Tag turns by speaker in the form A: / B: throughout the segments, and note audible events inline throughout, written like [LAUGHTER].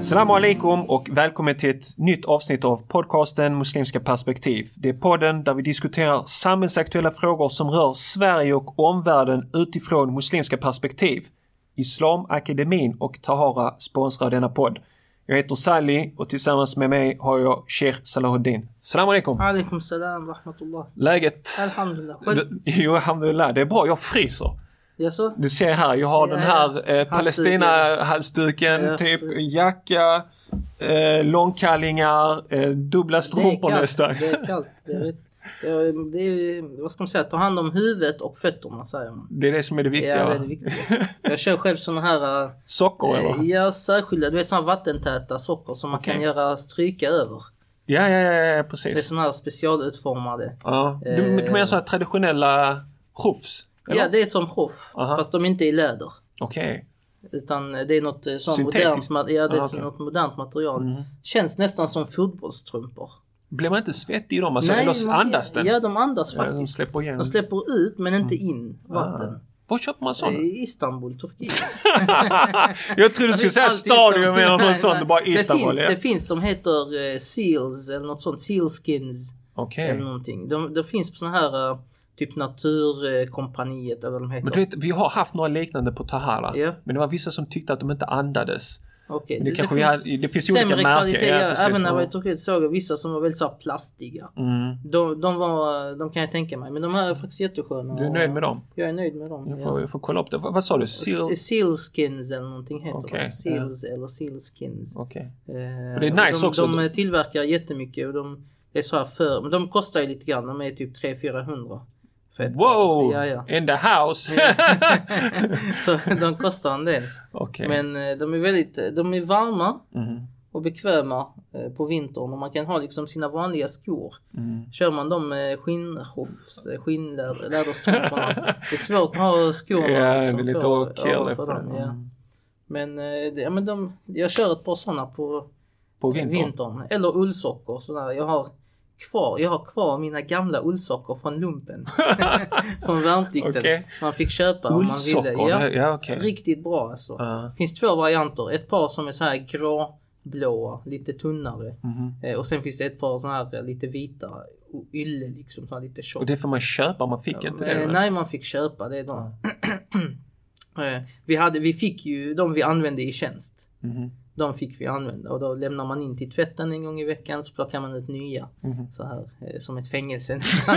A: Salam alaikum och välkommen till ett nytt avsnitt av podcasten Muslimska perspektiv. Det är podden där vi diskuterar samhällsaktuella frågor som rör Sverige och omvärlden utifrån muslimska perspektiv. Islamakademin och Tahara sponsrar denna podd. Jag heter Sally och tillsammans med mig har jag Sheikh Salahuddin. Salam alaikum!
B: Alaikum salam rahmatullah.
A: Läget?
B: Alhamdulillah. Själv?
A: Du- Jo, alhamdulillah. Det är bra. Jag fryser.
B: Jaså?
A: Du ser här, jag har
B: Ja,
A: den här eh,
B: ja.
A: Palestina-halsduken,
B: Ja,
A: typ
B: precis.
A: jacka, eh, långkallingar, eh, dubbla strumpor
B: det är
A: nästan.
B: kallt. Det är kallt. Jag vet. Ja, Det är ju- vad ska man säga, ta hand om huvudet och fötterna säger man.
A: Det är det som är det viktiga.
B: Ja, det
A: va?
B: är det viktiga. Jag kör själv såna här,
A: Socker eller?
B: äh, ja särskilda, du vet såna här vattentäta sockor som man kan
A: Okej.
B: göra stryka över.
A: Ja, ja, ja, ja
B: Det är
A: precis.
B: såna här specialutformade.
A: Ja. Du, du menar sådana traditionella chofs? eller?
B: Ja, det är som hoff,
A: Aha.
B: fast de inte är i läder.
A: Okej.
B: Utan det är något eh, sånt
A: Syntetiskt?
B: modernt, ma- ja, det är
A: Ah, okej.
B: något modernt material.
A: Mm.
B: Känns nästan som fotbollstrumpor.
A: Blir man inte svettig i dem? Alltså, eller
B: man-
A: andas den?
B: Ja, de andas
A: Ja, de
B: faktiskt.
A: släpper igen.
B: De släpper ut men
A: Mm.
B: inte in vatten.
A: Var köper man [LAUGHS] sådana?
B: I Istanbul, Turkiet.
A: jag trodde
B: Det
A: du skulle
B: finns
A: säga
B: allt i
A: stadion
B: Istanbul.
A: eller
B: Nej,
A: något sånt.
B: nej.
A: Bara Istanbul.
B: Det
A: ja.
B: finns, det finns, de heter eh, Seals eller något sånt. Sealskins
A: Okej.
B: eller någonting. De, de finns på såna här eh, typ Naturkompaniet eller vad de heter.
A: Men du vet, vi har haft några liknande på Tahara.
B: Ja.
A: Men det var vissa som tyckte att de inte andades.
B: Okej,
A: Men det,
B: det, det
A: kanske
B: finns
A: vi hade, det finns ju olika
B: sämre
A: märken.
B: kvalitet.
A: Ja,
B: Ja,
A: precis.
B: även när jag var i
A: Ja.
B: Turkiet såg jag vissa som var väldigt så här plastiga.
A: mm.
B: De, de var, de kan jag tänka mig. Men de här är faktiskt jättesköna.
A: Du är
B: och-
A: nöjd med dem?
B: Jag är nöjd med dem.
A: Jag
B: ja.
A: får, jag får kolla upp det. Vad, vad sa du? Seal?
B: S- Sealskins eller någonting heter
A: Okej,
B: de. Seals eller Sealskins.
A: Okej.
B: Eh,
A: det är nice
B: de,
A: också.
B: De tillverkar jättemycket och de det är så här för, men de kostar ju lite grann. De är typ 300-400. för ett
A: Wow!
B: par.
A: [LAUGHS]
B: Ja, [LAUGHS] ja.
A: In the house!
B: så de kostar en del.
A: [LAUGHS] Okej.
B: Men eh, de är väldigt, eh, de är varma
A: Mm.
B: och bekväma eh, på vintern och man kan ha liksom sina vanliga skor.
A: Mm.
B: Kör man dem med skinnhofs,
A: [LAUGHS]
B: skinnläderstrumporna. det är svårt att ha skorna
A: Ja, det
B: liksom,
A: blir lite
B: på-
A: åkerle
B: ovanpå
A: på
B: dem,
A: den.
B: ja.
A: Mm.
B: Men, eh, det, ja, men de, jag kör ett par sådana på
A: På
B: vintern.
A: vintern?
B: Eller ullsockor. Sådana. Jag, har kvar, jag har kvar mina gamla ullsockor från lumpen. [LAUGHS] från värnplikten.
A: Okej.
B: Man fick köpa om man ville.
A: Ullsockor?
B: Ja,
A: det- Ja, okej.
B: Riktigt bra alltså.
A: Ja.
B: finns två varianter. Ett par som är så här gråblåa, lite tunnare.
A: Mhm.
B: Eh, Och sen finns det ett par sådana här lite vita o- ylle liksom, så här lite
A: Och
B: tjockt.
A: det får man köpa? Man fick inte det?
B: Eh,
A: eller?
B: Nej, man fick köpa. Det är de. [CLEARS THROAT] Eh, vi, hade, vi fick ju de vi använde i tjänst.
A: Mhm.
B: De fick vi använda och då lämnar man in till tvätten en gång i veckan så plockar man ut nya.
A: Mhm.
B: Så här, eh, som ett fängelse [LAUGHS] nästan.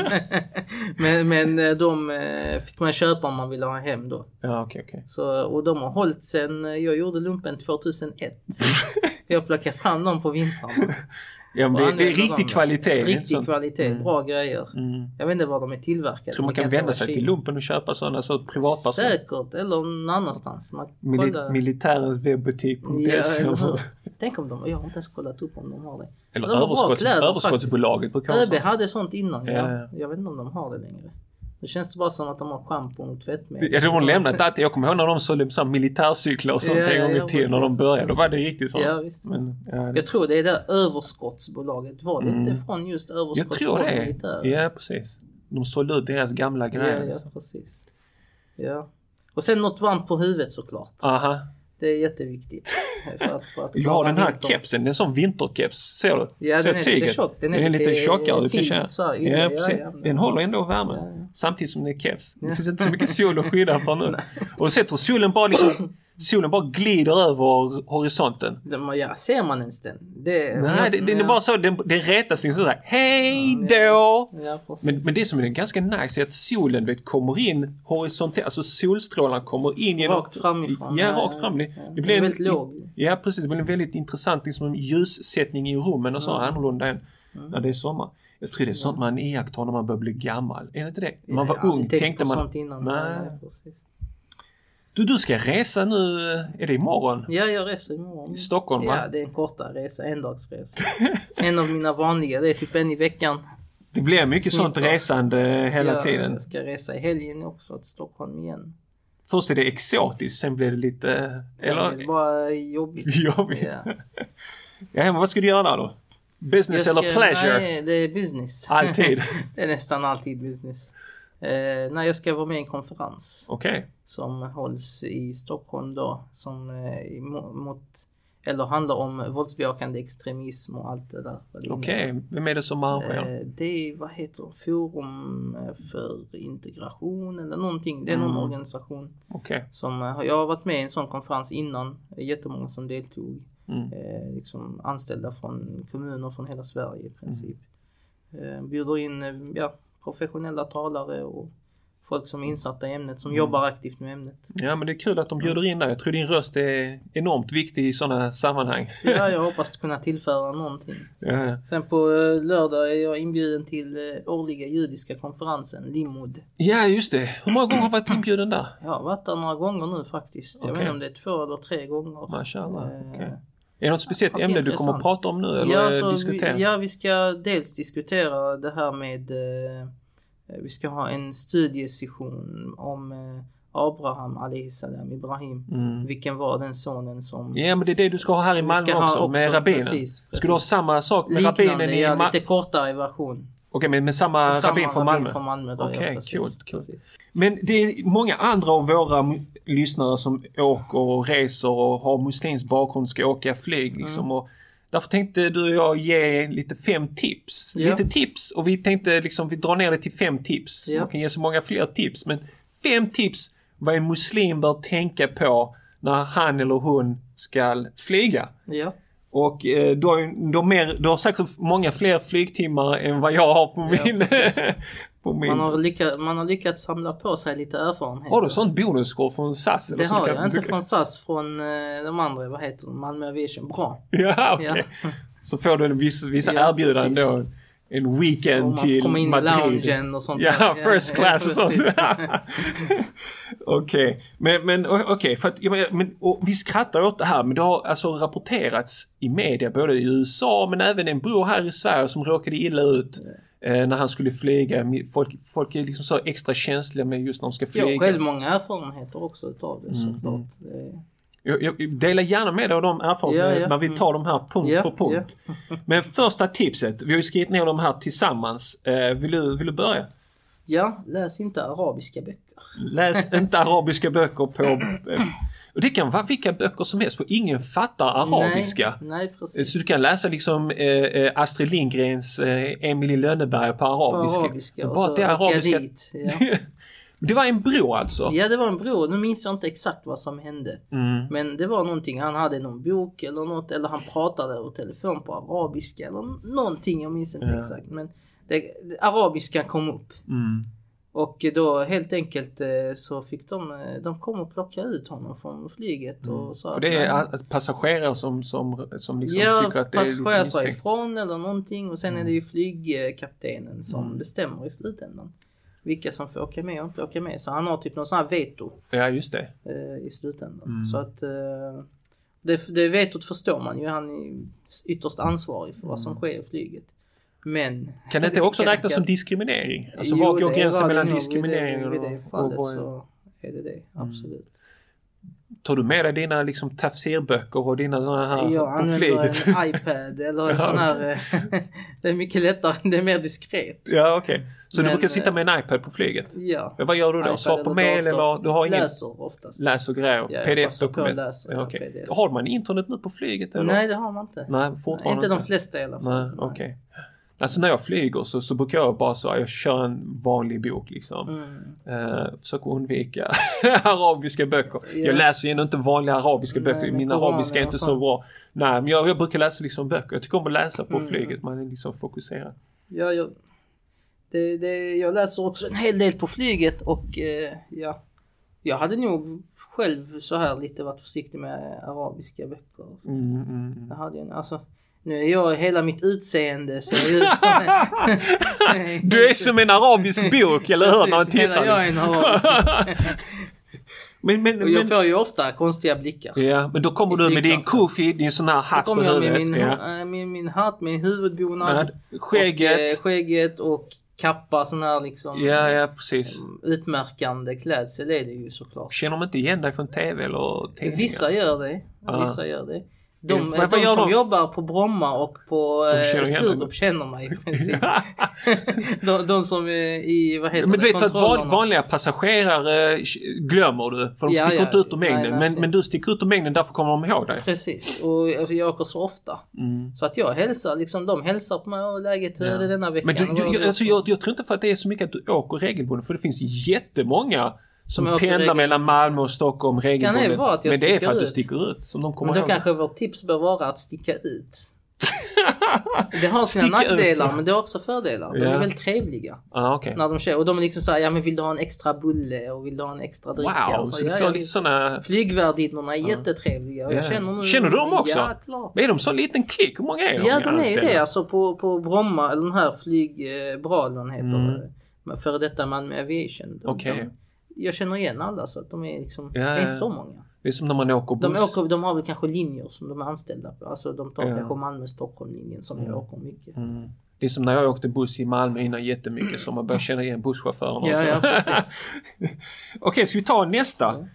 B: men, men eh, de eh, fick man köpa om man ville ha hem då.
A: Ja, okej, okej.
B: Så, och de har hållit sen eh, jag gjorde lumpen 2001.
A: [LAUGHS]
B: jag plockar fram dem på vintrarna.
A: Ja, men det, det är
B: använder dem.
A: riktig kvalitet. det är inte
B: Riktig
A: sånt-
B: kvalitet,
A: Mm.
B: bra grejer.
A: Mm.
B: Jag vet inte var de är tillverkade.
A: Så man
B: Det
A: kan
B: inte
A: vända
B: vara
A: sig
B: Kina.
A: till lumpen och köpa sådana så privatperson.
B: Säkert, eller någon annanstans. Man kollar-
A: Mili- alltså. militärens
B: Ja,
A: webbutik.se.
B: eller hur? Tänk om de, jag har inte ens kollat upp om de har det.
A: [LAUGHS] eller
B: Det var bra
A: överskotts-
B: kläder,
A: överskottsbolaget brukar ha
B: ÖB
A: sånt.
B: hade sånt innan ja.
A: Ja, ja.
B: Jag vet inte om de har det längre. Nu känns det bara som att de har schampo och tvättmedel.
A: Ja, de har lämnat allt. Jag kommer ihåg när de sålde så här militärcyklar och sånt
B: Ja,
A: en
B: ja,
A: gång
B: ja,
A: i tiden när de
B: precis.
A: började. Då var det riktigt sånt.
B: Ja, visst, visst.
A: Men, ja,
B: Jag tror det är det överskottsbolaget. Var det
A: Mm.
B: inte från just överskott
A: jag tror
B: från
A: det.
B: militären?
A: Ja, precis. De sålde ut deras gamla grejer.
B: Ja,
A: liksom.
B: ja, precis. Ja. Och sen något varmt på huvudet såklart.
A: Aha.
B: Det är jätteviktigt. För att, för att
A: [LAUGHS] Jag har
B: klara
A: den här
B: vintern.
A: kepsen. Det är en sån vinterkeps. Ser du?
B: Ja,
A: Ser
B: den är
A: tyget?
B: lite tjock. Den är
A: lite
B: lite
A: tjockare. Du kan
B: fin,
A: känna.
B: så här, ylle.
A: ja,
B: Ja,
A: precis.
B: ja, men-
A: Den håller ändå värmen.
B: Ja, ja.
A: Samtidigt som det är keps. Det
B: Ja.
A: finns
B: [LAUGHS]
A: inte så mycket sol att skydda från nu. och du sett hur solen bara,
B: [CLEARS THROAT]
A: liksom, solen bara glider över horisonten.
B: Den, ja, ser man ens den? Det,
A: Nej, det, den är
B: ja.
A: bara så. Den, den rätas liksom såhär. Hej då!
B: Ja, precis.
A: Men, men det som är ganska nice är att solen du vet, kommer in horisontellt, alltså solstrålarna kommer in genom...
B: Rakt framifrån.
A: Ja, rakt fram. Det,
B: Ja.
A: det blir en,
B: väldigt låg.
A: Ja, precis. Det blir en väldigt intressant liksom, en ljussättning i rummen och så
B: Mm.
A: annorlunda än när det är sommar. Jag tror det är sånt man iakttar när man börjar bli gammal. Är det inte det? När man var
B: Ja, jag
A: ung
B: tänkte
A: tänkte
B: på
A: man...
B: Sånt innan. eh,
A: Nej.
B: Ja, precis.
A: Du, du ska resa nu, är det imorgon?
B: ja, jag reser imorgon.
A: I Stockholm
B: Ja,
A: va?
B: det är en kortare resa. En dags resa. en av mina vanliga. Det är typ en i veckan.
A: Det blir mycket sånt
B: Snittar.
A: resande hela
B: jag
A: tiden.
B: Jag ska resa i helgen också till Stockholm igen.
A: Först är det exotiskt, sen blir det lite...
B: Sen
A: eller...
B: är det bara jobbigt.
A: [LAUGHS] Jobbigt.
B: Ja.
A: Ja, men vad ska du göra där då? Business
B: Jag
A: eller
B: ska-
A: pleasure?
B: Nej, det är business.
A: Alltid?
B: [LAUGHS] det är nästan alltid business. Eh, nej, jag ska vara med i en konferens
A: Okej.
B: som hålls i Stockholm då. Som, eh, i mo- mot Eller handlar om våldsbejakande extremism och allt det där. vad det innebär.
A: Okej, vem är det som arrangerar?
B: Eh, Det är, vad heter det, Forum eh, för integration eller någonting. Det är någon
A: Mm.
B: organisation
A: Okej.
B: som eh, har- jag har varit med i en sån konferens innan. Det är jättemånga som deltog.
A: Mm.
B: Eh, liksom anställda från kommuner från hela Sverige i princip. Eh, bjuder in eh, ja, professionella talare och folk som är insatta i ämnet, som jobbar aktivt med ämnet.
A: Ja men det är kul att de bjuder in dig. Jag tror din röst är enormt viktig i sådana sammanhang.
B: Ja, jag hoppas kunna tillföra någonting.
A: Ja, ja.
B: Sen på eh, lördag är jag inbjuden till eh, årliga judiska konferensen, Limud.
A: ja just det. Hur många gånger har du varit inbjuden där?
B: Jag har varit där några gånger nu faktiskt. Jag vet
A: Okej.
B: inte om det är två eller tre gånger.
A: Mashallah.
B: Eh,
A: okej. Är det något speciellt
B: Ja,
A: ämne du kommer att
B: intressant.
A: prata om nu eller
B: ja,
A: eh,
B: så
A: diskutera?
B: Vi, ja, vi ska dels diskutera det här med eh, Vi ska ha en studiesession om eh, Abraham alaihi salam, Ibrahim.
A: Mm.
B: Vilken var den sonen som...
A: ja men det är det du ska ha här i
B: vi
A: Malmö
B: ska ha
A: också, med rabbinen.
B: Precis, precis.
A: Ska du ha samma sak med rabbinen
B: Liknande,
A: i
B: ja,
A: Malmö?
B: lite kortare version.
A: Okej men med samma,
B: Samma
A: rabbin från
B: rabbin
A: Malmö?
B: Från Malmö där,
A: Okej,
B: precis,
A: coolt, coolt.
B: precis.
A: Men det är många andra av våra m- lyssnare som åker och reser och har muslimsk bakgrund ska åka flyg
B: Mm.
A: liksom. Och därför tänkte du och jag ge lite fem tips.
B: Ja.
A: Lite tips och vi tänkte liksom vi drar ner det till fem tips.
B: Ja.
A: Man kan ge så många fler tips men fem tips vad en muslim bör tänka på när han eller hon ska flyga.
B: Ja.
A: Och eh, du, har, ju- du, har mer, du har säkert många fler flygtimmar än vad jag har på
B: Ja,
A: min... [LAUGHS] på min.
B: Man har, lyckats, man har lyckats samla på sig lite erfarenhet.
A: Har du sånt bonuskort från SAS? eller
B: det
A: så du
B: har
A: kan-
B: jag, inte
A: du- [LAUGHS]
B: från SAS, från eh, de andra, vad heter de, Malmö Aviation. Bra.
A: Ja, okej. Så får du en viss, vissa
B: Ja,
A: erbjudanden då.
B: precis.
A: En
B: Och
A: weekend
B: man får
A: till
B: komma in i
A: Madrid.
B: loungen och sånt
A: Ja,
B: där.
A: [LAUGHS] first class och sånt.
B: precis.
A: [LAUGHS] okej, men, men o- okej, för att, jag menar, men, och vi skrattar åt det här men det har alltså rapporterats i media både i USA men även en bror här i Sverige som råkade illa ut eh, när han skulle flyga. Folk, folk är liksom så extra känsliga med just när de ska
B: Jag
A: flyga.
B: har själv många erfarenheter också utav det
A: Mm,
B: såklart. Eh,
A: mm.
B: Det-
A: Jag, jag dela gärna med dig av de erfarenheterna
B: Ja, ja.
A: när vi tar de här punkt
B: Ja,
A: för punkt. Men första tipset, vi har ju skrivit ner de här tillsammans. Eh, vill, du, vill du börja?
B: Ja, läs inte arabiska böcker. [LAUGHS]
A: Läs inte arabiska böcker på... eh, Och det kan vara vilka böcker som helst för ingen fattar arabiska.
B: Nej, nej
A: Eh,
B: precis.
A: Så du kan läsa liksom eh, eh, Astrid Lindgrens eh, Emily i Lönneberga på
B: På
A: arabiska.
B: arabiska.
A: Och
B: Och
A: bara
B: så
A: det är arabiska-
B: arabiska. Dit,
A: [LAUGHS]
B: ja.
A: Det var en bro alltså?
B: ja, det var en bror. Nu minns jag inte exakt vad som hände.
A: Mm.
B: Men det var någonting, han hade någon bok eller något eller han pratade över telefon på arabiska eller någonting, jag minns inte
A: Ja.
B: exakt. Men det, det, arabiska kom upp
A: Mm.
B: och då helt enkelt eh, så fick de, eh, de kom och plockade ut honom från flyget och sa
A: Mm. För det är
B: att,
A: a- passagerare som, som, som liksom tycker
B: Ja,
A: att det är
B: passagerare sa
A: misstänkt.
B: ifrån eller någonting och sen är det ju flygkaptenen som
A: Mm.
B: bestämmer i slutändan. Vilka som får åka med och inte åka med. Så han har typ någon sån här veto.
A: Ja, just det.
B: eh, i slutändan.
A: Mm.
B: Så att eh, det, det vetot förstår man ju. Han är ju ytterst ansvarig för vad som sker i flyget. Men...
A: Mm. Kan det inte också
B: kan-
A: räknas
B: kan-
A: som diskriminering? Alltså
B: Jo,
A: var går
B: det
A: gränsen
B: var
A: mellan
B: nog
A: diskriminering
B: i det, i det
A: och... Mm.
B: fallet
A: och vad-
B: så är det det. Absolut.
A: Tar du med dig dina liksom tafsirböcker och dina sådana här
B: Jag
A: på flyget? [LAUGHS]
B: använder en iPad eller
A: Ja,
B: en sån här... eh, [LAUGHS] det är mycket lättare. Det är mer diskret.
A: Ja, okej. Så du
B: Men,
A: brukar sitta med en iPad på flyget?
B: Ja.
A: Ja, Vad gör du då?
B: iPad
A: Svar på mail eller?
B: dator.
A: vad? Du har ingen...
B: Läser oftast.
A: Läser grejer?
B: Ja, jag passar på
A: PDF-dokument?
B: att läsa,
A: Ja,
B: ja,
A: okej.
B: PDF.
A: Har man internet nu på flyget? Eller?
B: Nej, det har man inte.
A: Nej,
B: Nej,
A: fortfarande
B: inte de flesta i alla fall.
A: Nej, okej. Alltså när jag flyger så, så brukar jag bara så, jag kör en vanlig bok liksom.
B: Mm.
A: Eh, försök undvika [LAUGHS] arabiska böcker.
B: Ja.
A: Jag läser ju ändå inte vanliga arabiska
B: Nej,
A: böcker.
B: men
A: Min
B: koraner
A: arabiska är inte
B: och
A: så
B: sånt.
A: bra. Nej, men jag, jag brukar läsa liksom böcker. Jag tycker om att läsa på
B: Mm.
A: flyget. Man är liksom fokuserad.
B: Ja, jag, det, det, jag läser också en hel del på flyget och eh, ja, jag hade nog själv så här lite varit försiktig med arabiska böcker. och så.
A: Mm, mm, mm.
B: Jag hade, ju- alltså, nu är jag, hela mitt utseende ser ut som...
A: [LAUGHS] Du är som en
B: [LAUGHS]
A: arabisk bok, eller hur? När man
B: Precis, hela jag
A: tittar.
B: är en arabisk.
A: [LAUGHS] Men, men,
B: Och jag
A: men,
B: får ju ofta konstiga blickar.
A: ja, men då kommer
B: I
A: du med din
B: flygplatsen.
A: kufi, din sån här
B: Då
A: hatt på
B: kommer jag med
A: huvudet.
B: min,
A: ja.
B: eh, min, min hatt, min huvudbonad.
A: Med Skägget.
B: Och, eh, skägget och kappa sån här liksom.
A: ja, ja, precis.
B: Utmärkande klädsel är det ju såklart.
A: Känner de inte igen dig från TV eller tidningar?
B: Vissa gör det.
A: Ja.
B: Vissa gör det. De,
A: Vad-
B: de,
A: vad gör
B: som
A: de?
B: jobbar på Bromma och på
A: De
B: eh,
A: känner igen
B: Sturup
A: dig. [LAUGHS]
B: känner mig i princip. [LAUGHS] de, de som är i, vad heter
A: Men du
B: det,
A: vet för att van-
B: kontrollerna.
A: vanliga passagerare eh, glömmer du för de
B: Ja,
A: sticker
B: ja,
A: inte ut ur
B: nej,
A: mängden.
B: nej,
A: men,
B: precis.
A: men du sticker ut ur mängden därför kommer de ihåg dig.
B: Precis, och alltså, jag åker så ofta.
A: Mm.
B: Så att jag hälsar, liksom de hälsar på mig och läget hur
A: Ja.
B: är det denna veckan.
A: Men du,
B: Och vad har
A: du,
B: vi
A: jag, alltså,
B: gjort?
A: jag, jag tror inte för att det är så mycket att du åker regelbundet för det finns jättemånga som,
B: Som åker
A: pendlar
B: regelbundet.
A: mellan Malmö och Stockholm regelbundet.
B: vara att jag
A: men det är för
B: sticker
A: att du
B: ut?
A: sticker ut som de kommer
B: Men då
A: ihåg.
B: kanske vårt tips bör vara att sticka
A: [LAUGHS]
B: ut. Det har sina
A: Sticka ut,
B: nackdelar
A: ja.
B: men det har också fördelar. De
A: Ja.
B: är väldigt trevliga.
A: Ah, okej.
B: När de kör. Och de är liksom såhär, ja men vill du ha en extra bulle och vill du ha en extra dricka?
A: Wow,
B: Och
A: så,
B: så,
A: du
B: ja,
A: får
B: jag
A: lite
B: vill-
A: sådana...
B: Flygvärdinnorna är jättetrevliga. Och jag
A: Ja.
B: känner, nu,
A: Känner du dem också?
B: Ja, klart.
A: Men är de så liten klick? Hur många är de?
B: Ja, de är ju
A: anställda?
B: det. Alltså på, på Bromma, eller den här flyg... eh, Bralon
A: Mm.
B: heter det. Före detta Malmö Aviation. De-
A: Okej.
B: de- Jag känner igen alla så att de är liksom...
A: Ja,
B: det är inte
A: ja.
B: så många.
A: Det är som när man åker buss.
B: De, åker, de har väl kanske linjer som de är anställda på. Alltså de tar
A: Ja.
B: kanske Malmö-Stockholm-linjen som
A: Ja.
B: jag åker mycket.
A: Mm. Det är som när jag åkte buss i Malmö innan jättemycket så man börjar känna igen busschaufförerna. och
B: Ja,
A: så.
B: ja, precis.
A: Okej, ska vi ta nästa? [CLEARS THROAT]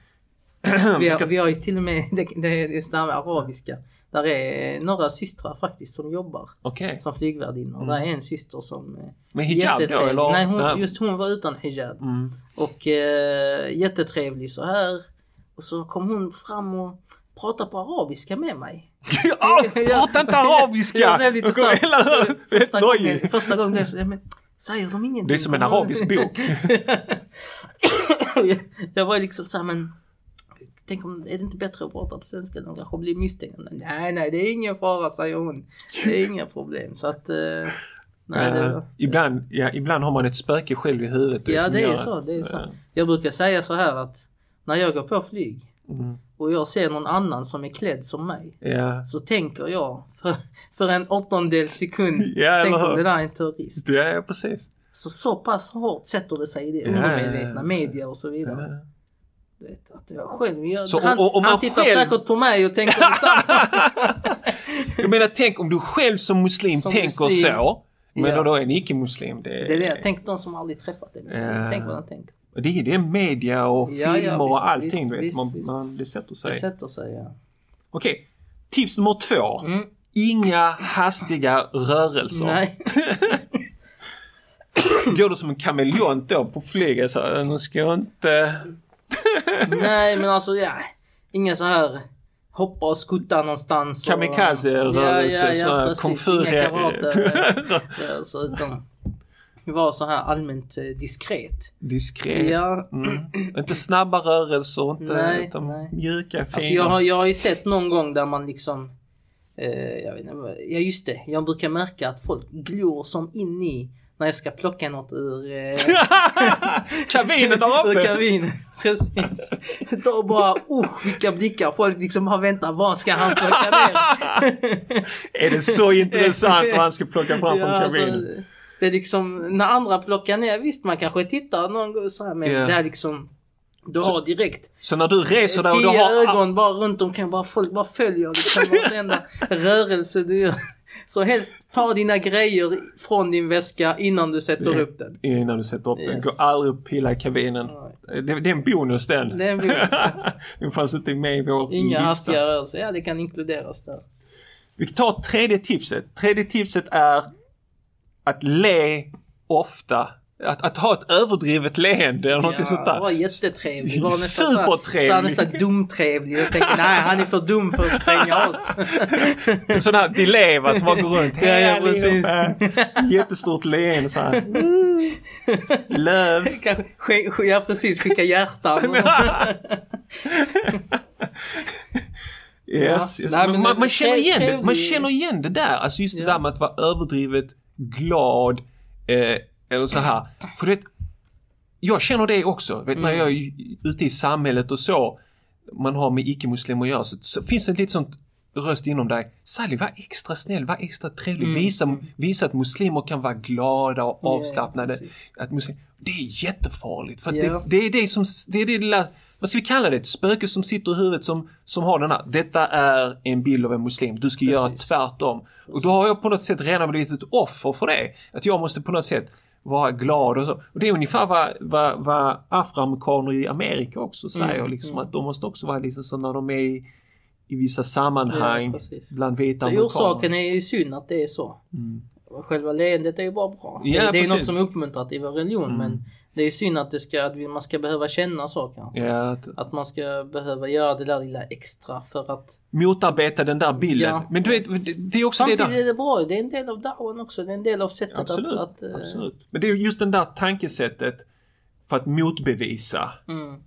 B: Vi har, vi har ju till och med, [LAUGHS] det, det, det är sådana här arabiska, där är några systrar faktiskt som jobbar
A: Okej.
B: som flygvärdinnor.
A: Mm.
B: Där är en syster som... eh,
A: Med hijab då
B: jättetrevlig.
A: eller?
B: Nej, hon, just hon var utan hijab.
A: [LAUGHS] Mm.
B: Och eh, jättetrevlig så här. Och så kom hon fram och pratade på arabiska med mig. [LAUGHS]
A: Ja, prata inte arabiska!
B: Ja, det är lite
A: Jag kommer
B: sant.
A: hela-
B: Första
A: Nojig.
B: gången, första gången jag sa, men säger de ingenting?
A: Det är som en
B: Kommer-
A: arabisk bok.
B: jag var liksom såhär men Tänk om, är det inte bättre att prata på svenska? De kanske blir misstänkta. Nej, nej, det är ingen fara, säger hon. Det är inga problem. Så att... Eh, [LAUGHS] nej, det
A: Eh,
B: var,
A: ibland, ja, ibland har man ett spöke själv i huvudet.
B: ja,
A: som
B: det
A: gör
B: är
A: att-
B: så. Det är så.
A: ja.
B: Jag brukar säga så här att när jag går på flyg
A: Mm.
B: och jag ser någon annan som är klädd som mig
A: Ja.
B: så tänker jag för, för en åttondel sekund,
A: Ja, eller
B: tänk
A: hur?
B: om det där är en terrorist.
A: Ja, ja, precis.
B: Så, så pass hårt sätter det sig i det
A: Ja, ja, ja.
B: undermedvetna, media och så vidare.
A: Ja.
B: Du vet, att jag själv gör
A: Så
B: han,
A: om- om man
B: han tittar
A: själv-
B: säkert på mig och tänker
A: [LAUGHS]
B: detsamma.
A: Jag menar, tänk om du själv som muslim
B: Som
A: tänker
B: muslim.
A: så. Men
B: Ja.
A: då, då är en icke-muslim. Det,
B: det är det jag tänker. De som aldrig träffat en muslim.
A: Ja.
B: Tänk vad de tänker.
A: det, är- det är media och
B: Ja, ja,
A: filmer
B: visst,
A: och allting.
B: visst,
A: vet.
B: visst,
A: man,
B: visst.
A: Man, det sätter sig.
B: Det sätter sig ja.
A: Okej, tips nummer två.
B: Mm.
A: Inga hastiga rörelser.
B: [LAUGHS] Nej.
A: Går du som en kameleont då på flyget så här, nu ska jag inte...
B: Nej men alltså ja. Inga så här hoppa och skutta någonstans. och-
A: Kamikaze-rörelser,
B: ja,
A: så här
B: precis.
A: konfur- [LAUGHS]
B: Inga karate. alltså, utan vara så här allmänt eh, diskret.
A: Diskret.
B: Ja.
A: Mm. Inte snabba rörelser, inte
B: Nej,
A: utan
B: nej.
A: mjuka, fina.
B: Alltså jag har, jag har ju sett någon gång där man liksom eh, jag vet inte, vad- Ja just det, jag brukar märka att folk glor som in i när jag ska plocka något ur, eh,
A: [LAUGHS] [LAUGHS] Kabinen där
B: ur
A: uppe!
B: kabinen. [LAUGHS] Precis. Då bara, oh vilka blickar folk liksom bara väntar, vad ska han
A: [LAUGHS]
B: plocka ner?
A: Är det så intressant vad han ska plocka fram från kabinen?
B: alltså, det är liksom, när andra plockar ner, visst man kanske tittar någon gång så här men
A: Ja.
B: det här liksom du har direkt
A: Så när du reser där och du
B: tio
A: har...
B: ögon bara runt omkring. Bara folk bara följer liksom varenda rörelse du gör. Så helst ta dina grejer från din väska innan du sätter
A: Ja.
B: upp den.
A: Innan du sätter upp den.
B: Yes.
A: Gå aldrig och pilla i kabinen. Det, det är en bonus den.
B: Det är en bonus.
A: [LAUGHS] den fanns inte med i vår
B: Inga
A: lista.
B: hastiga rörelser. Ja, det kan inkluderas där.
A: Vi tar tredje tipset. Tredje tipset är att le ofta. Att, att ha ett överdrivet leende eller något sånt
B: det
A: där.
B: var jättetrevlig. Det var nästan
A: Supertrevlig.
B: Så här, nästan dumtrevlig. Jag tänkte nej, han är för dum för att spränga
A: [LAUGHS]
B: oss.
A: En sån här delay va, som bara går runt.
B: [LAUGHS] Ja, ja,
A: Hej allihopa! Jättestort leende så
B: [LAUGHS]
A: här. Woo! Löv.
B: Kanske, sk- sk- ja precis, skicka hjärtan.
A: Yes,
B: Ja.
A: yes.
B: Nej,
A: men
B: men
A: man,
B: det-
A: man, känner igen det.
B: trevlig-
A: man känner igen det där. Alltså just det
B: Ja.
A: där med att vara överdrivet glad. Eh, eller så här. För du vet, jag känner det också. Vet,
B: Mm.
A: När jag är ute i samhället och så. Man har med icke-muslimer att göra. Så, så finns det ett litet sånt röst inom dig. Sally, var extra snäll, var extra trevlig.
B: Mm,
A: Visa, visa att muslimer kan vara glada och
B: Ja,
A: avslappnade.
B: precis.
A: att muslim, det är jättefarligt. För att
B: Ja.
A: det, det är det som, det är det lilla, vad ska vi kalla det? Ett spöke som sitter i huvudet som, som har den här, detta är en bild av en muslim, du ska göra
B: Precis.
A: tvärtom. Och då har jag på något sätt redan blivit ett offer för det. Att jag måste på något sätt vara glad och så. Och det är ungefär vad, vad,
B: Mm,
A: vad afroamerikaner i Amerika också säger. Liksom, Att de måste också vara liksom så när de är i, i vissa
B: Ja,
A: sammanhang
B: precis.
A: bland vita
B: Så orsaken är ju synd att det är så.
A: Mm.
B: Själva leendet är ju bara bra.
A: Ja,
B: det, det är ju
A: precis.
B: något som är uppmuntrat i vår religion
A: Mm.
B: men det är synd att, det ska, att vi- man ska behöva känna så kanske.
A: Ja, att
B: Att man ska behöva göra det där lilla extra för att
A: motarbeta den där bilden.
B: Ja.
A: Men du vet, det- det är också det
B: Samtidigt
A: där.
B: är det bra, det är en del av dawan också, det är en del av sättet
A: Absolut.
B: att... att eh,
A: absolut. Men det är just den där tankesättet för att motbevisa.
B: Mm,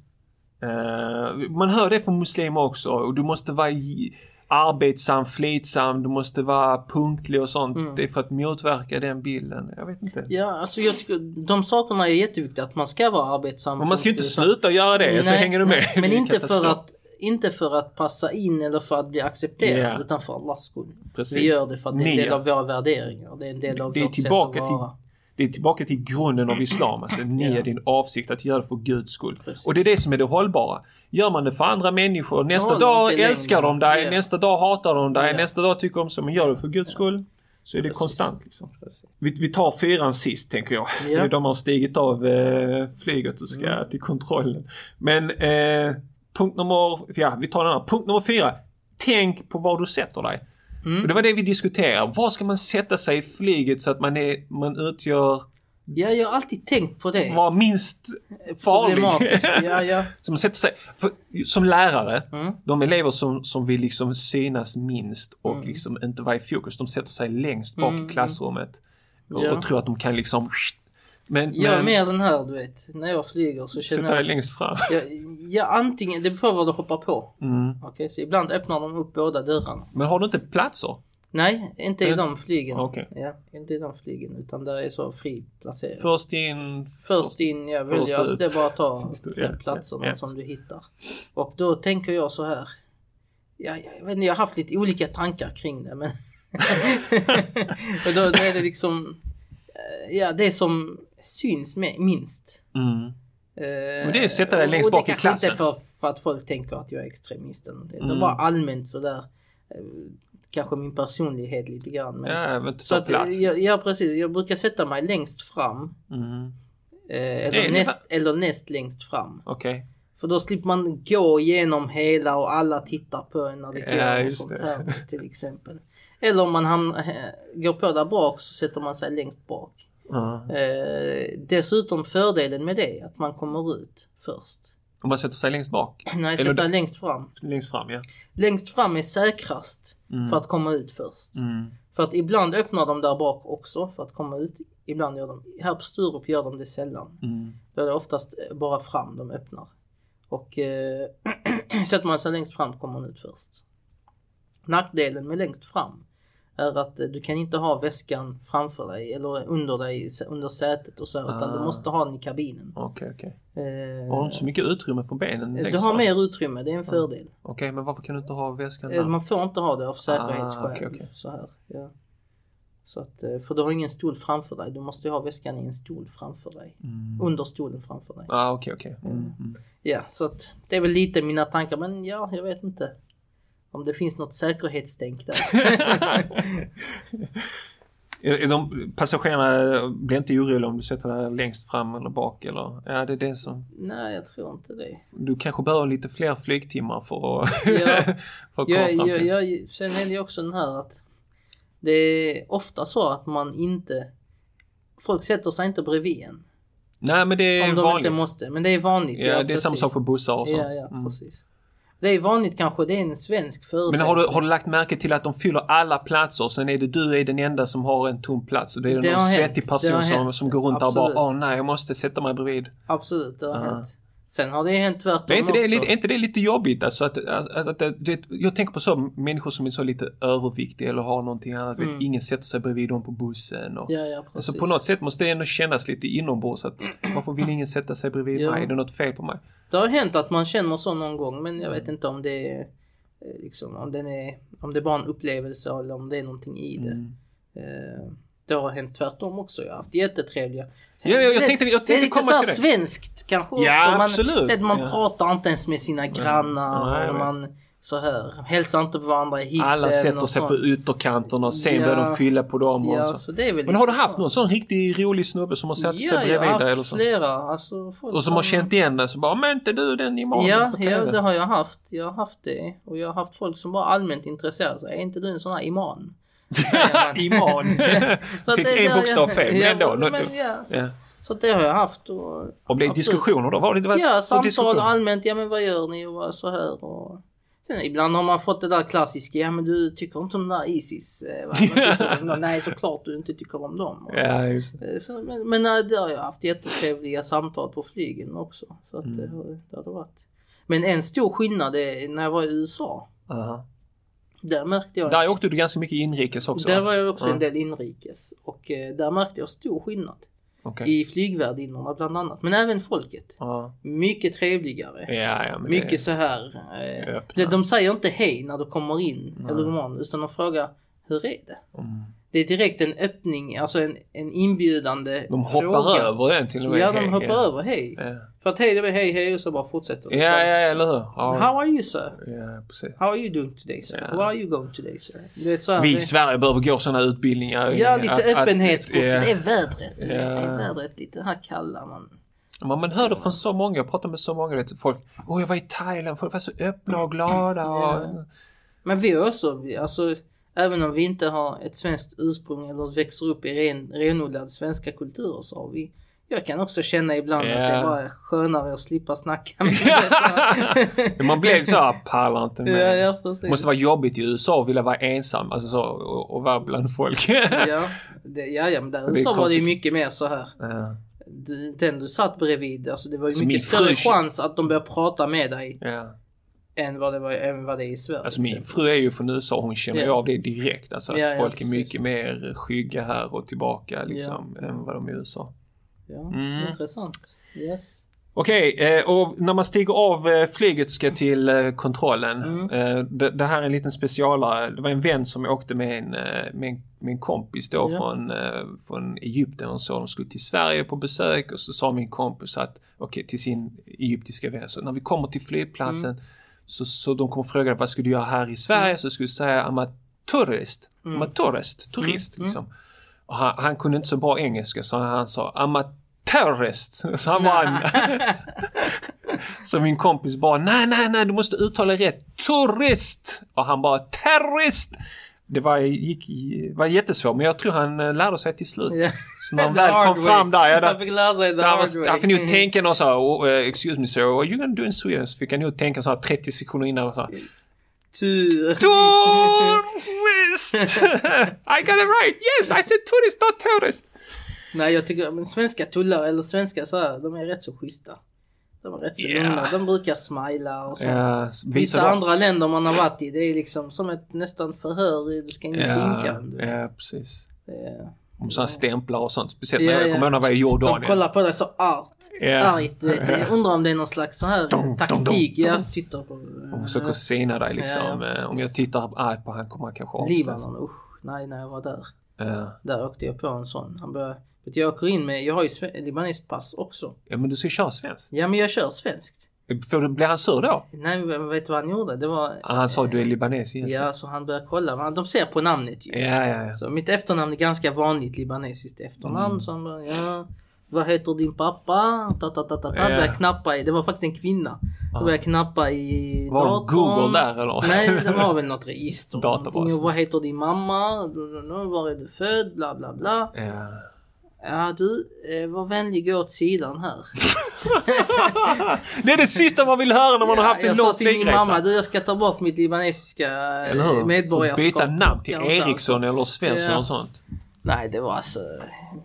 A: Eh, man hör det från muslimer också. Och du måste vara i- arbetsam, flitsam, du måste vara punktlig och sånt.
B: Mm.
A: Det är för att motverka den bilden. Jag vet inte.
B: ja, alltså jag tycker de sakerna är jätteviktiga, att man ska vara arbetsam.
A: Men man ska ju inte
B: och-
A: sluta göra det, så
B: Nej,
A: hänger du med.
B: nej, Men
A: Det är
B: inte
A: katastrof.
B: för, att, inte för att passa in eller för att bli accepterad
A: Ja.
B: utan för Allahs skull.
A: Precis.
B: Vi gör det för att det är en del
A: Nia.
B: av våra värderingar. Det är en del av
A: Det är
B: vårt sätt
A: tillbaka
B: att
A: till-
B: vara.
A: Det är tillbaka till grunden av islam. Alltså, ni är
B: Ja.
A: din avsikt att göra det för Guds skull.
B: Precis.
A: Och det är det som är det hållbara. Gör man det för andra människor, nästa
B: håller
A: dag
B: inte längre.
A: älskar de dig,
B: Ja.
A: nästa dag hatar de dig,
B: Ja.
A: nästa dag tycker de så, men gör det för Guds skull. Så är det
B: Precis.
A: konstant liksom.
B: Precis.
A: Vi, vi tar fyran sist tänker jag.
B: Ja. Mm.
A: De har stigit av eh, flyget och ska till kontrollen. Men eh, punkt nummer, ja vi tar den här. Punkt nummer fyra. Tänk på var du sätter dig.
B: Mm.
A: Och det var det vi diskuterade. Var ska man sätta sig i flyget så att man, är, man utgör,
B: Ja, jag har alltid tänkt på det.
A: var minst farlig. [LAUGHS]
B: Problematiskt. Ja, ja.
A: Som sätter sig, för, som lärare,
B: Mm.
A: de elever som, som vill liksom synas minst och
B: Mm.
A: liksom inte vara i fokus, de sätter sig längst bak
B: Mm,
A: i klassrummet och,
B: Ja.
A: och tror att de kan liksom... Men,
B: Jag är
A: men
B: mer den här du vet, när jag flyger så
A: sätta
B: känner
A: dig
B: jag...
A: längst fram.
B: Ja, ja, antingen, det beror på vad du hoppar på.
A: Mm.
B: Okej, så ibland öppnar de upp båda dörrarna.
A: Men har du inte platser?
B: Nej, inte i
A: Men-
B: de flygen.
A: Okej.
B: Ja, inte i de flygen utan där är så fri placering.
A: Först in...
B: Först in, jag vill
A: Först
B: alltså
A: ut.
B: det är bara att ta
A: [LAUGHS] Sist ut, ja,
B: platserna
A: ja, ja.
B: som du hittar. Och då tänker jag så här. Ja, jag, jag, vet inte, jag har haft lite olika tankar kring det men... [LAUGHS] och då, då är det liksom... eh, Ja, det som syns med, minst.
A: Mm.
B: Men
A: det är att sätta dig längst bak i
B: Det
A: klassen.
B: kanske inte är för, för att folk tänker att jag är extremist eller någonting. Det
A: Mm.
B: är bara allmänt sådär. eh, Kanske min personlighet lite grann. Men,
A: Ja, jag vill inte
B: så
A: ta
B: att,
A: plats.
B: eh, jag, ja precis, jag brukar sätta mig längst fram.
A: Mm.
B: Eh,
A: Det
B: eller,
A: är
B: näst, eller näst längst fram.
A: Okej.
B: För då slipper man gå igenom hela och alla tittar på en när det
A: Ja,
B: går och
A: just
B: sånt
A: det.
B: här till exempel. Eller om man hamnar, eh, går på där bak så sätter man sig längst bak.
A: Ja.
B: Eh, dessutom fördelen med det är att man kommer ut först. [CLEARS THROAT]
A: Om man sätter sig längst bak?
B: Nej,
A: Eller
B: sätta
A: du-
B: längst fram.
A: Längst fram, ja.
B: Längst fram är säkrast
A: Mm.
B: för att komma ut först.
A: Mm.
B: För att ibland öppnar de där bak också för att komma ut. Ibland gör de, här på Sturup gör de det sällan.
A: Mm.
B: Då är det oftast bara fram de öppnar. Och eh, [CLEARS THROAT] sätter man sig längst fram kommer man ut först. Nackdelen med längst fram är att eh, du kan inte ha väskan framför dig eller under dig, under sätet och så utan du
A: Ah.
B: måste ha den i kabinen.
A: Okej, okej.
B: Eh,
A: Har du inte så mycket utrymme på benen
B: du
A: längst
B: har
A: fram? Ah.
B: mer utrymme, det är en fördel.
A: Okej, men varför kan du inte ha väskan
B: Eh,
A: där?
B: Man får inte ha det av säkerhetsskäl.
A: Ah, okej, okej.
B: så här, ja. så att, eh, för du har ingen stol framför dig. Du måste ju ha väskan i en stol framför dig.
A: Mm.
B: Under stolen framför dig.
A: Ah, okej, okej. Mm. Mm.
B: Ja, så att det är väl lite mina tankar. Men ja, jag vet inte. Om det finns något
A: [LAUGHS]
B: säkerhetstänk där.
A: [LAUGHS] Är- är De, passagerarna blir inte oroliga om du sätter dig längst fram eller bak eller? Ja, det är det som...
B: Nej, jag tror
A: [LAUGHS]
B: inte det.
A: Du kanske behöver lite fler flygtimmar för att,
B: Ja.
A: [LAUGHS] för att komma
B: Jag,
A: fram
B: jag,
A: till.
B: jag, sen är det ju också den här att det är ofta så att man inte... Folk sätter sig inte bredvid en.
A: Nej, men det är
B: Om de
A: vanligt.
B: inte måste. Men det är vanligt.
A: ja, det är samma
B: precis.
A: sak på bussar och sånt.
B: Ja, ja,
A: Mm.
B: precis. Det är vanligt kanske, det är en svensk
A: Men
B: företeelse.
A: har du, har du lagt märke till att de fyller alla platser och sen är det du är den enda som har en tom plats och det är
B: Det
A: någon
B: har hänt.
A: svettig
B: Det
A: person
B: har
A: som,
B: hänt.
A: som går runt där och
B: Absolut.
A: bara åh nej jag måste sätta mig bredvid.
B: Absolut, det har
A: Ja.
B: hänt. Sen har det ju hänt tvärtom
A: Men är inte, det,
B: också.
A: lite, är inte det lite jobbigt? Alltså att, att, att, att, du vet, jag tänker på så människor som är så lite överviktiga eller har någonting annat. du Vet,
B: Mm.
A: ingen sätter sig bredvid dem på bussen. Och,
B: Ja, ja, precis.
A: alltså på något sätt måste det ändå kännas lite inombords att varför
B: [CLEARS THROAT]
A: vill ingen sätta sig bredvid
B: Ja.
A: mig? Är det något fel på mig?
B: Det har hänt att man känner så någon gång men jag vet inte om det är eh, liksom, om, den är, om det är bara en upplevelse eller om det är någonting i det.
A: Mm.
B: Eh, Det har hänt tvärtom också. Jag har haft jättetrevliga.
A: Ja, ja, jag
B: Du vet,
A: tänkte- jag
B: det är
A: tänkte
B: lite
A: komma
B: så här
A: till det.
B: svenskt kanske
A: Ja,
B: också. Man,
A: absolut.
B: vet, man
A: Ja.
B: pratar inte ens med sina grannar.
A: Nej, jag
B: och
A: vet.
B: man, så här, hälsar inte på varandra i hissen.
A: Alla sätter
B: och
A: sig på
B: sånt.
A: ytterkanterna och sen
B: Ja.
A: börjar de fylla på dem. Och
B: Ja,
A: så.
B: så det är väl
A: Men har du
B: lite
A: haft
B: så.
A: någon sån riktig rolig snubbe som har satt sig
B: Ja, jag
A: bredvid
B: har
A: dig eller
B: haft
A: så?
B: flera. Alltså, folk
A: Och som har känt igen dig så bara “Men inte du den i morgon
B: Ja,
A: på TV?”
B: ja,
A: [LAUGHS]
B: det har jag haft. Jag har haft det. Och jag har haft folk som bara allmänt intresserar sig. Är inte du en sån här imam? säger
A: Iman.
B: [LAUGHS] Så att
A: Fick
B: det- det
A: en
B: har jag-
A: bokstav fel, men
B: Ja,
A: ändå.
B: men-
A: något-
B: ja, så-
A: [LAUGHS] Ja.
B: Så det har jag haft. Och,
A: Och blev
B: Absolut.
A: diskussioner då? Var det, var det
B: ja,
A: var
B: samtal
A: diskussion?
B: och allmänt. Ja, men vad gör ni? Och vad så här. Och... Sen, ibland har man fått det där klassiska. Ja, men du tycker inte om den där Isis. eh, va? Vad tycker du
A: [LAUGHS]
B: om dem? Nej, såklart du inte tycker om dem. Och,
A: Ja, just det.
B: eh, Så, men men nej, det har jag haft jättetrevliga samtal på flygen också. Så att, det,
A: Mm.
B: har- det har det varit. Men en stor skillnad är när jag var i USA.
A: Aha.
B: Där märkte jag
A: Där åkte du ganska mycket inrikes också?
B: Där
A: va?
B: var jag också
A: Ja.
B: en del inrikes och eh, där märkte jag stor skillnad.
A: Okej.
B: I flygvärdinnorna bland annat, men även folket.
A: Ja,
B: Mycket trevligare.
A: ja, ja men
B: Mycket
A: det-
B: så här. Eh,
A: öppna.
B: de, de säger inte hej när du kommer in
A: Nej.
B: eller god morgon utan de frågar hur är det?
A: Mm.
B: Det är direkt en öppning, alltså en, en inbjudande
A: De hoppar
B: fråga.
A: över en till och med.
B: Ja, de
A: Hej,
B: hoppar
A: ja.
B: över hej.
A: Ja.
B: För att hej, det var hej, hej och så bara fortsätter de.
A: Ja, ja, eller hur?
B: How
A: Ja,
B: are you sir?
A: ja precis.
B: How are you doing today sir?
A: Ja.
B: Where are you going today sir? Du vet, så här,
A: Vi
B: det-
A: i Svärie behöver gå sådana utbildningar.
B: Ja, lite
A: Att- att-
B: öppenhetskurs.
A: ja.
B: Det är vädret. du vet.
A: Ja.
B: Det är vädret. Lite här kallar man.
A: Men man hör det från så många. Jag pratar med så många. Vet, folk. Åh, jag var i Thailand. Folk var så öppna och glada. Och...
B: Ja. Men vi också, vi- alltså även om vi inte har ett svenskt ursprung eller växer upp i ren, renodlad svenska kulturer så har vi jag kan också känna ibland
A: Ja.
B: att det är bara skönare att
A: [LAUGHS]
B: slippa snacka med
A: Ja.
B: det, så.
A: Man blev så här, pallar inte med.
B: ja, ja, precis.
A: Det måste vara jobbigt i USA att vilja vara ensam alltså så, och, och vara bland folk. [LAUGHS]
B: ja, det, ja, ja, men där i
A: är
B: USA var det ju
A: konstigt.
B: mycket mer så här.
A: Ja.
B: Du, den du satt bredvid, alltså det var ju
A: Alltså,
B: mycket
A: min
B: större
A: fru-
B: chans att de började prata med dig
A: Ja.
B: än vad det, var, än vad det är i Sverige. liksom.
A: Alltså
B: till
A: min
B: exempel.
A: fru är ju från USA och hon känner ju
B: Ja.
A: av det direkt. Alltså att
B: Ja, ja,
A: folk är
B: precis.
A: mycket mer skygga här och tillbaka liksom än vad de är i USA.
B: Ja,
A: Mm.
B: intressant. Yes.
A: Okej, eh, och när man stiger av eh, flyget ska till eh, kontrollen.
B: Mm.
A: Eh, Det, det här är en liten specialare. Det var en vän som åkte med en, eh, med en, med en kompis då
B: Ja.
A: från, eh, från Egypten och så. De skulle till Sverige på besök och så sa min kompis att, okej till sin egyptiska vän, så när vi kommer till flygplatsen
B: Mm.
A: så, så de kommer fråga vad ska du göra här i Sverige? Så skulle du säga amaturist,
B: Mm.
A: amaturist, turist
B: Mm.
A: liksom. Och han, han kunde inte så bra engelska så han sa amaturist. [LAUGHS] Så han vann. Så min kompis bara nej, nej, nej, du måste uttala rätt. Turist! Och han bara terrorist! Det var, gick, var jättesvårt men jag tror han eh, lärde sig till slut.
B: [LAUGHS]
A: [LAUGHS]
B: Ja.
A: Så
B: [LAUGHS]
A: när han
B: The
A: väl
B: hard
A: kom
B: way.
A: fram där,
B: [LAUGHS]
A: ja,
B: Han
A: där
B: fick lära sig the
A: där han
B: hard
A: var-
B: way.
A: han fick nog tänka någon så här, oh, eh, excuse me sir, what are you gonna do in Sweden? Så fick han nog tänka så här 30 sekunder innan
B: [LAUGHS]
A: och så här,
B: Tur.
A: Tourist! [LAUGHS] I got it right! Yes, I said tourist, not terrorist!
B: Nej jag tycker, men svenska tullare eller svenska så här, de är rätt så schyssta. De är rätt så
A: Yeah.
B: lugna, de brukar smila och så.
A: Ja,
B: Vissa
A: dem.
B: andra länder man har varit i, det är liksom som ett nästan förhör, du ska in i
A: Ja,
B: finkan.
A: ja, precis.
B: Eh,
A: Om sådana stämplar och sånt. Speciellt
B: Ja,
A: när jag
B: ja.
A: kommer ihåg när jag var i
B: De
A: Jordanien.
B: kollar på dig så art,
A: Ja.
B: argt. du
A: [LAUGHS]
B: Vet, jag undrar om det är någon slags så här
A: Dong, dong,
B: taktik.
A: dong,
B: Jag
A: dong.
B: tittar på... eh,
A: Och försöker sina dig liksom.
B: Ja, ja,
A: Eh,
B: precis.
A: Om jag tittar ah, på han kommer han kanske Eh, avslöjas.
B: Libanon, usch. Nej, när jag var där.
A: Ja.
B: Där åkte jag på en sån. Han började, vet du, jag åker in med, jag har ju sve- libanespass också.
A: ja men du ska köra svenskt.
B: Ja men jag kör svenskt.
A: Får du- Blir han sur då?
B: Nej men vet du vad han gjorde? Det var...
A: Ah, han sa du är libanes egentligen.
B: Ja så han började kolla. Men De ser på namnet ju.
A: Ja, ja, ja.
B: Så mitt efternamn är ganska vanligt libanesiskt efternamn.
A: Mm.
B: Så han bara, ja. Vad heter din pappa? Ta, ta, ta, ta, ta.
A: Ja.
B: Började knappa i, det var faktiskt en kvinna. Då
A: Ah.
B: började knappa i
A: Var
B: datorn.
A: Google där eller?
B: Nej, de har väl något register.
A: [LAUGHS] Databas.
B: Någonting. Vad heter din mamma? Var är du född? Bla bla bla.
A: [LAUGHS] Ja.
B: Ja du, eh, var vänlig gå åt sidan här.
A: Det är det sista man vill höra när man har haft en
B: jag
A: lång
B: sa till min mamma,
A: flygresa.
B: du jag ska ta bort mitt libanesiska eh,
A: Eller hur?
B: medborgarskap.
A: Byta namn till
B: Jag orkar inte,
A: Eriksson eller Svensson
B: Ja.
A: och sånt.
B: alltså. Nej det var alltså...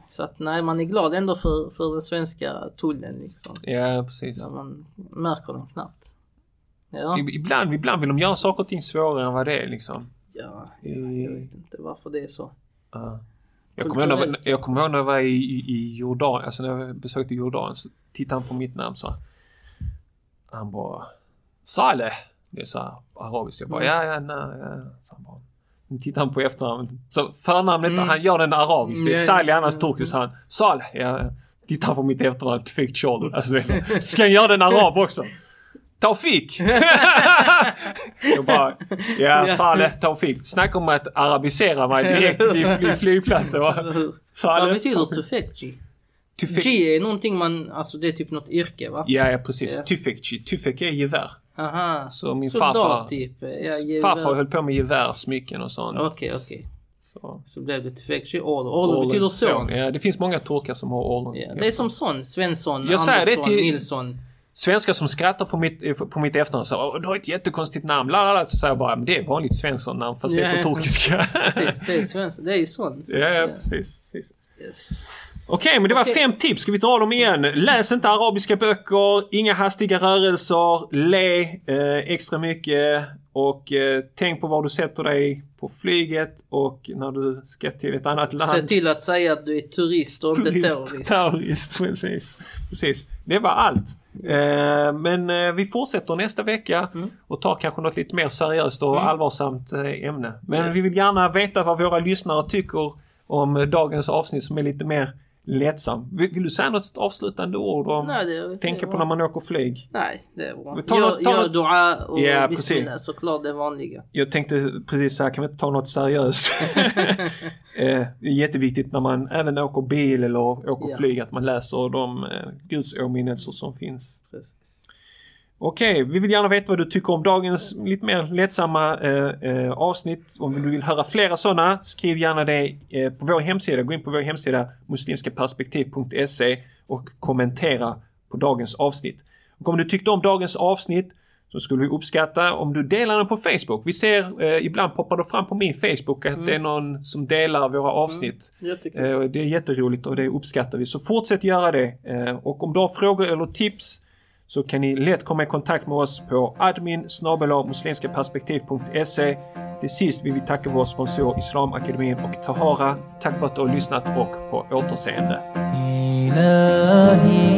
B: Så att nej man är glad ändå för, för den svenska tullen liksom.
A: Ja, precis.
B: Där man märker den knappt. Ja,
A: I- Ibland, ibland vill de göra saker och ting svårare än vad det är liksom.
B: ja, ja jag vet inte varför det är så.
A: Ja. Jag kommer, ihåg när, jag kommer ihåg när jag var i, i- i Jordan, alltså när jag besökte Jordan så tittade han på mitt namn så här. Han bara Saleh. Det är så här arabiskt. Jag bara ja, ja, nej, ja. Så han bara, nu tittar han på efternamnet. Så förnamnet,
B: Mm.
A: han gör den arabiskt. Det är
B: Ja,
A: Saleh,
B: ja,
A: annars
B: ja,
A: turkisk. Han Saleh. Ja, ja. tittar han på mitt efternamn, fake shoulder. Alltså, det är så här, ska jag göra den arab också? Taufik! [LAUGHS] jag bara, ja Saleh Taufik. Snacka om att arabisera mig direkt vid, vid flygplatsen. va?
B: Vad
A: Saleh
B: betyder tufekji?
A: Tufik.
B: G är någonting man, alltså det är typ något yrke va?
A: Ja, ja precis.
B: Ja.
A: Tufekci. Tufek är gevär.
B: Aha.
A: Så min
B: Soldat
A: farfar-
B: typ. Ja, gevär.
A: Farfar höll på med gevärsmycken och sånt.
B: Okej, okej.
A: Så-
B: Så blev det tufekji order. Order
A: Orlens
B: betyder son.
A: Ja, det finns många turkar som har orlen.
B: Ja, det är som son, Svensson,
A: Jag säger det
B: Andersson,
A: till-
B: Nilsson.
A: Svenskar som skrattar på mitt, på mitt efternamn så "Åh, du har ett jättekonstigt namn. La, la, la. Så säger jag bara, men det är ett vanligt Svensson-namn fast det är på
B: Ja.
A: turkiska.
B: [LAUGHS] Precis, det är Svensson. Det är ju son.
A: [LAUGHS] ja, ja, precis. precis.
B: Yes.
A: Okej, men det var
B: Okej.
A: fem tips. Ska vi dra dem igen? Läs inte arabiska böcker, inga hastiga rörelser, le eh, extra mycket och eh, tänk på var du sätter dig på flyget och när du ska till ett annat land.
B: Se till att säga att du är turist och inte terrorist.
A: terrorist, precis. precis. Det var allt. Eh, men eh, vi fortsätter nästa vecka
B: Mm.
A: och tar kanske något lite mer seriöst och
B: Mm.
A: allvarsamt eh, ämne. Men
B: Yes.
A: vi vill gärna veta vad våra lyssnare tycker om eh, dagens avsnitt som är lite mer lättsam. Vill, vill du säga något avslutande ord om
B: Nej, det, det
A: tänka
B: är
A: på
B: bra.
A: när man åker flyg?
B: Nej, det är bra.
A: Vi tar
B: gör,
A: något- tar
B: gör
A: något-
B: dua och
A: Ja,
B: bismillah såklart, det vanliga.
A: [LAUGHS] Jag tänkte precis så här, kan vi inte ta något
B: [LAUGHS]
A: seriöst? eh, det är jätteviktigt när man även åker bil eller åker
B: Ja.
A: flyg att man läser de eh, gudsåminnelser som finns.
B: Precis.
A: Okej, vi vill gärna veta vad du tycker om dagens lite mer lättsamma eh, eh, avsnitt. Om du vill höra flera sådana, skriv gärna det eh, på vår hemsida. Gå in på vår hemsida muslimskaperspektiv.se och kommentera på dagens avsnitt. Och om du tyckte om dagens avsnitt så skulle vi uppskatta om du delar den på Facebook. Vi ser, eh, ibland poppar det fram på min Facebook att det är någon som delar våra avsnitt.
B: Jättekul.
A: Eh, och Det är jätteroligt och det uppskattar vi. Så fortsätt göra det. Eh, Och om du har frågor eller tips så kan ni lätt komma i kontakt med oss på admin muslimskaperspektiv.se. Till sist vill vi tacka vår sponsor Islamakademin och Tahara. Tack för att du har lyssnat och på återseende.
C: إلهي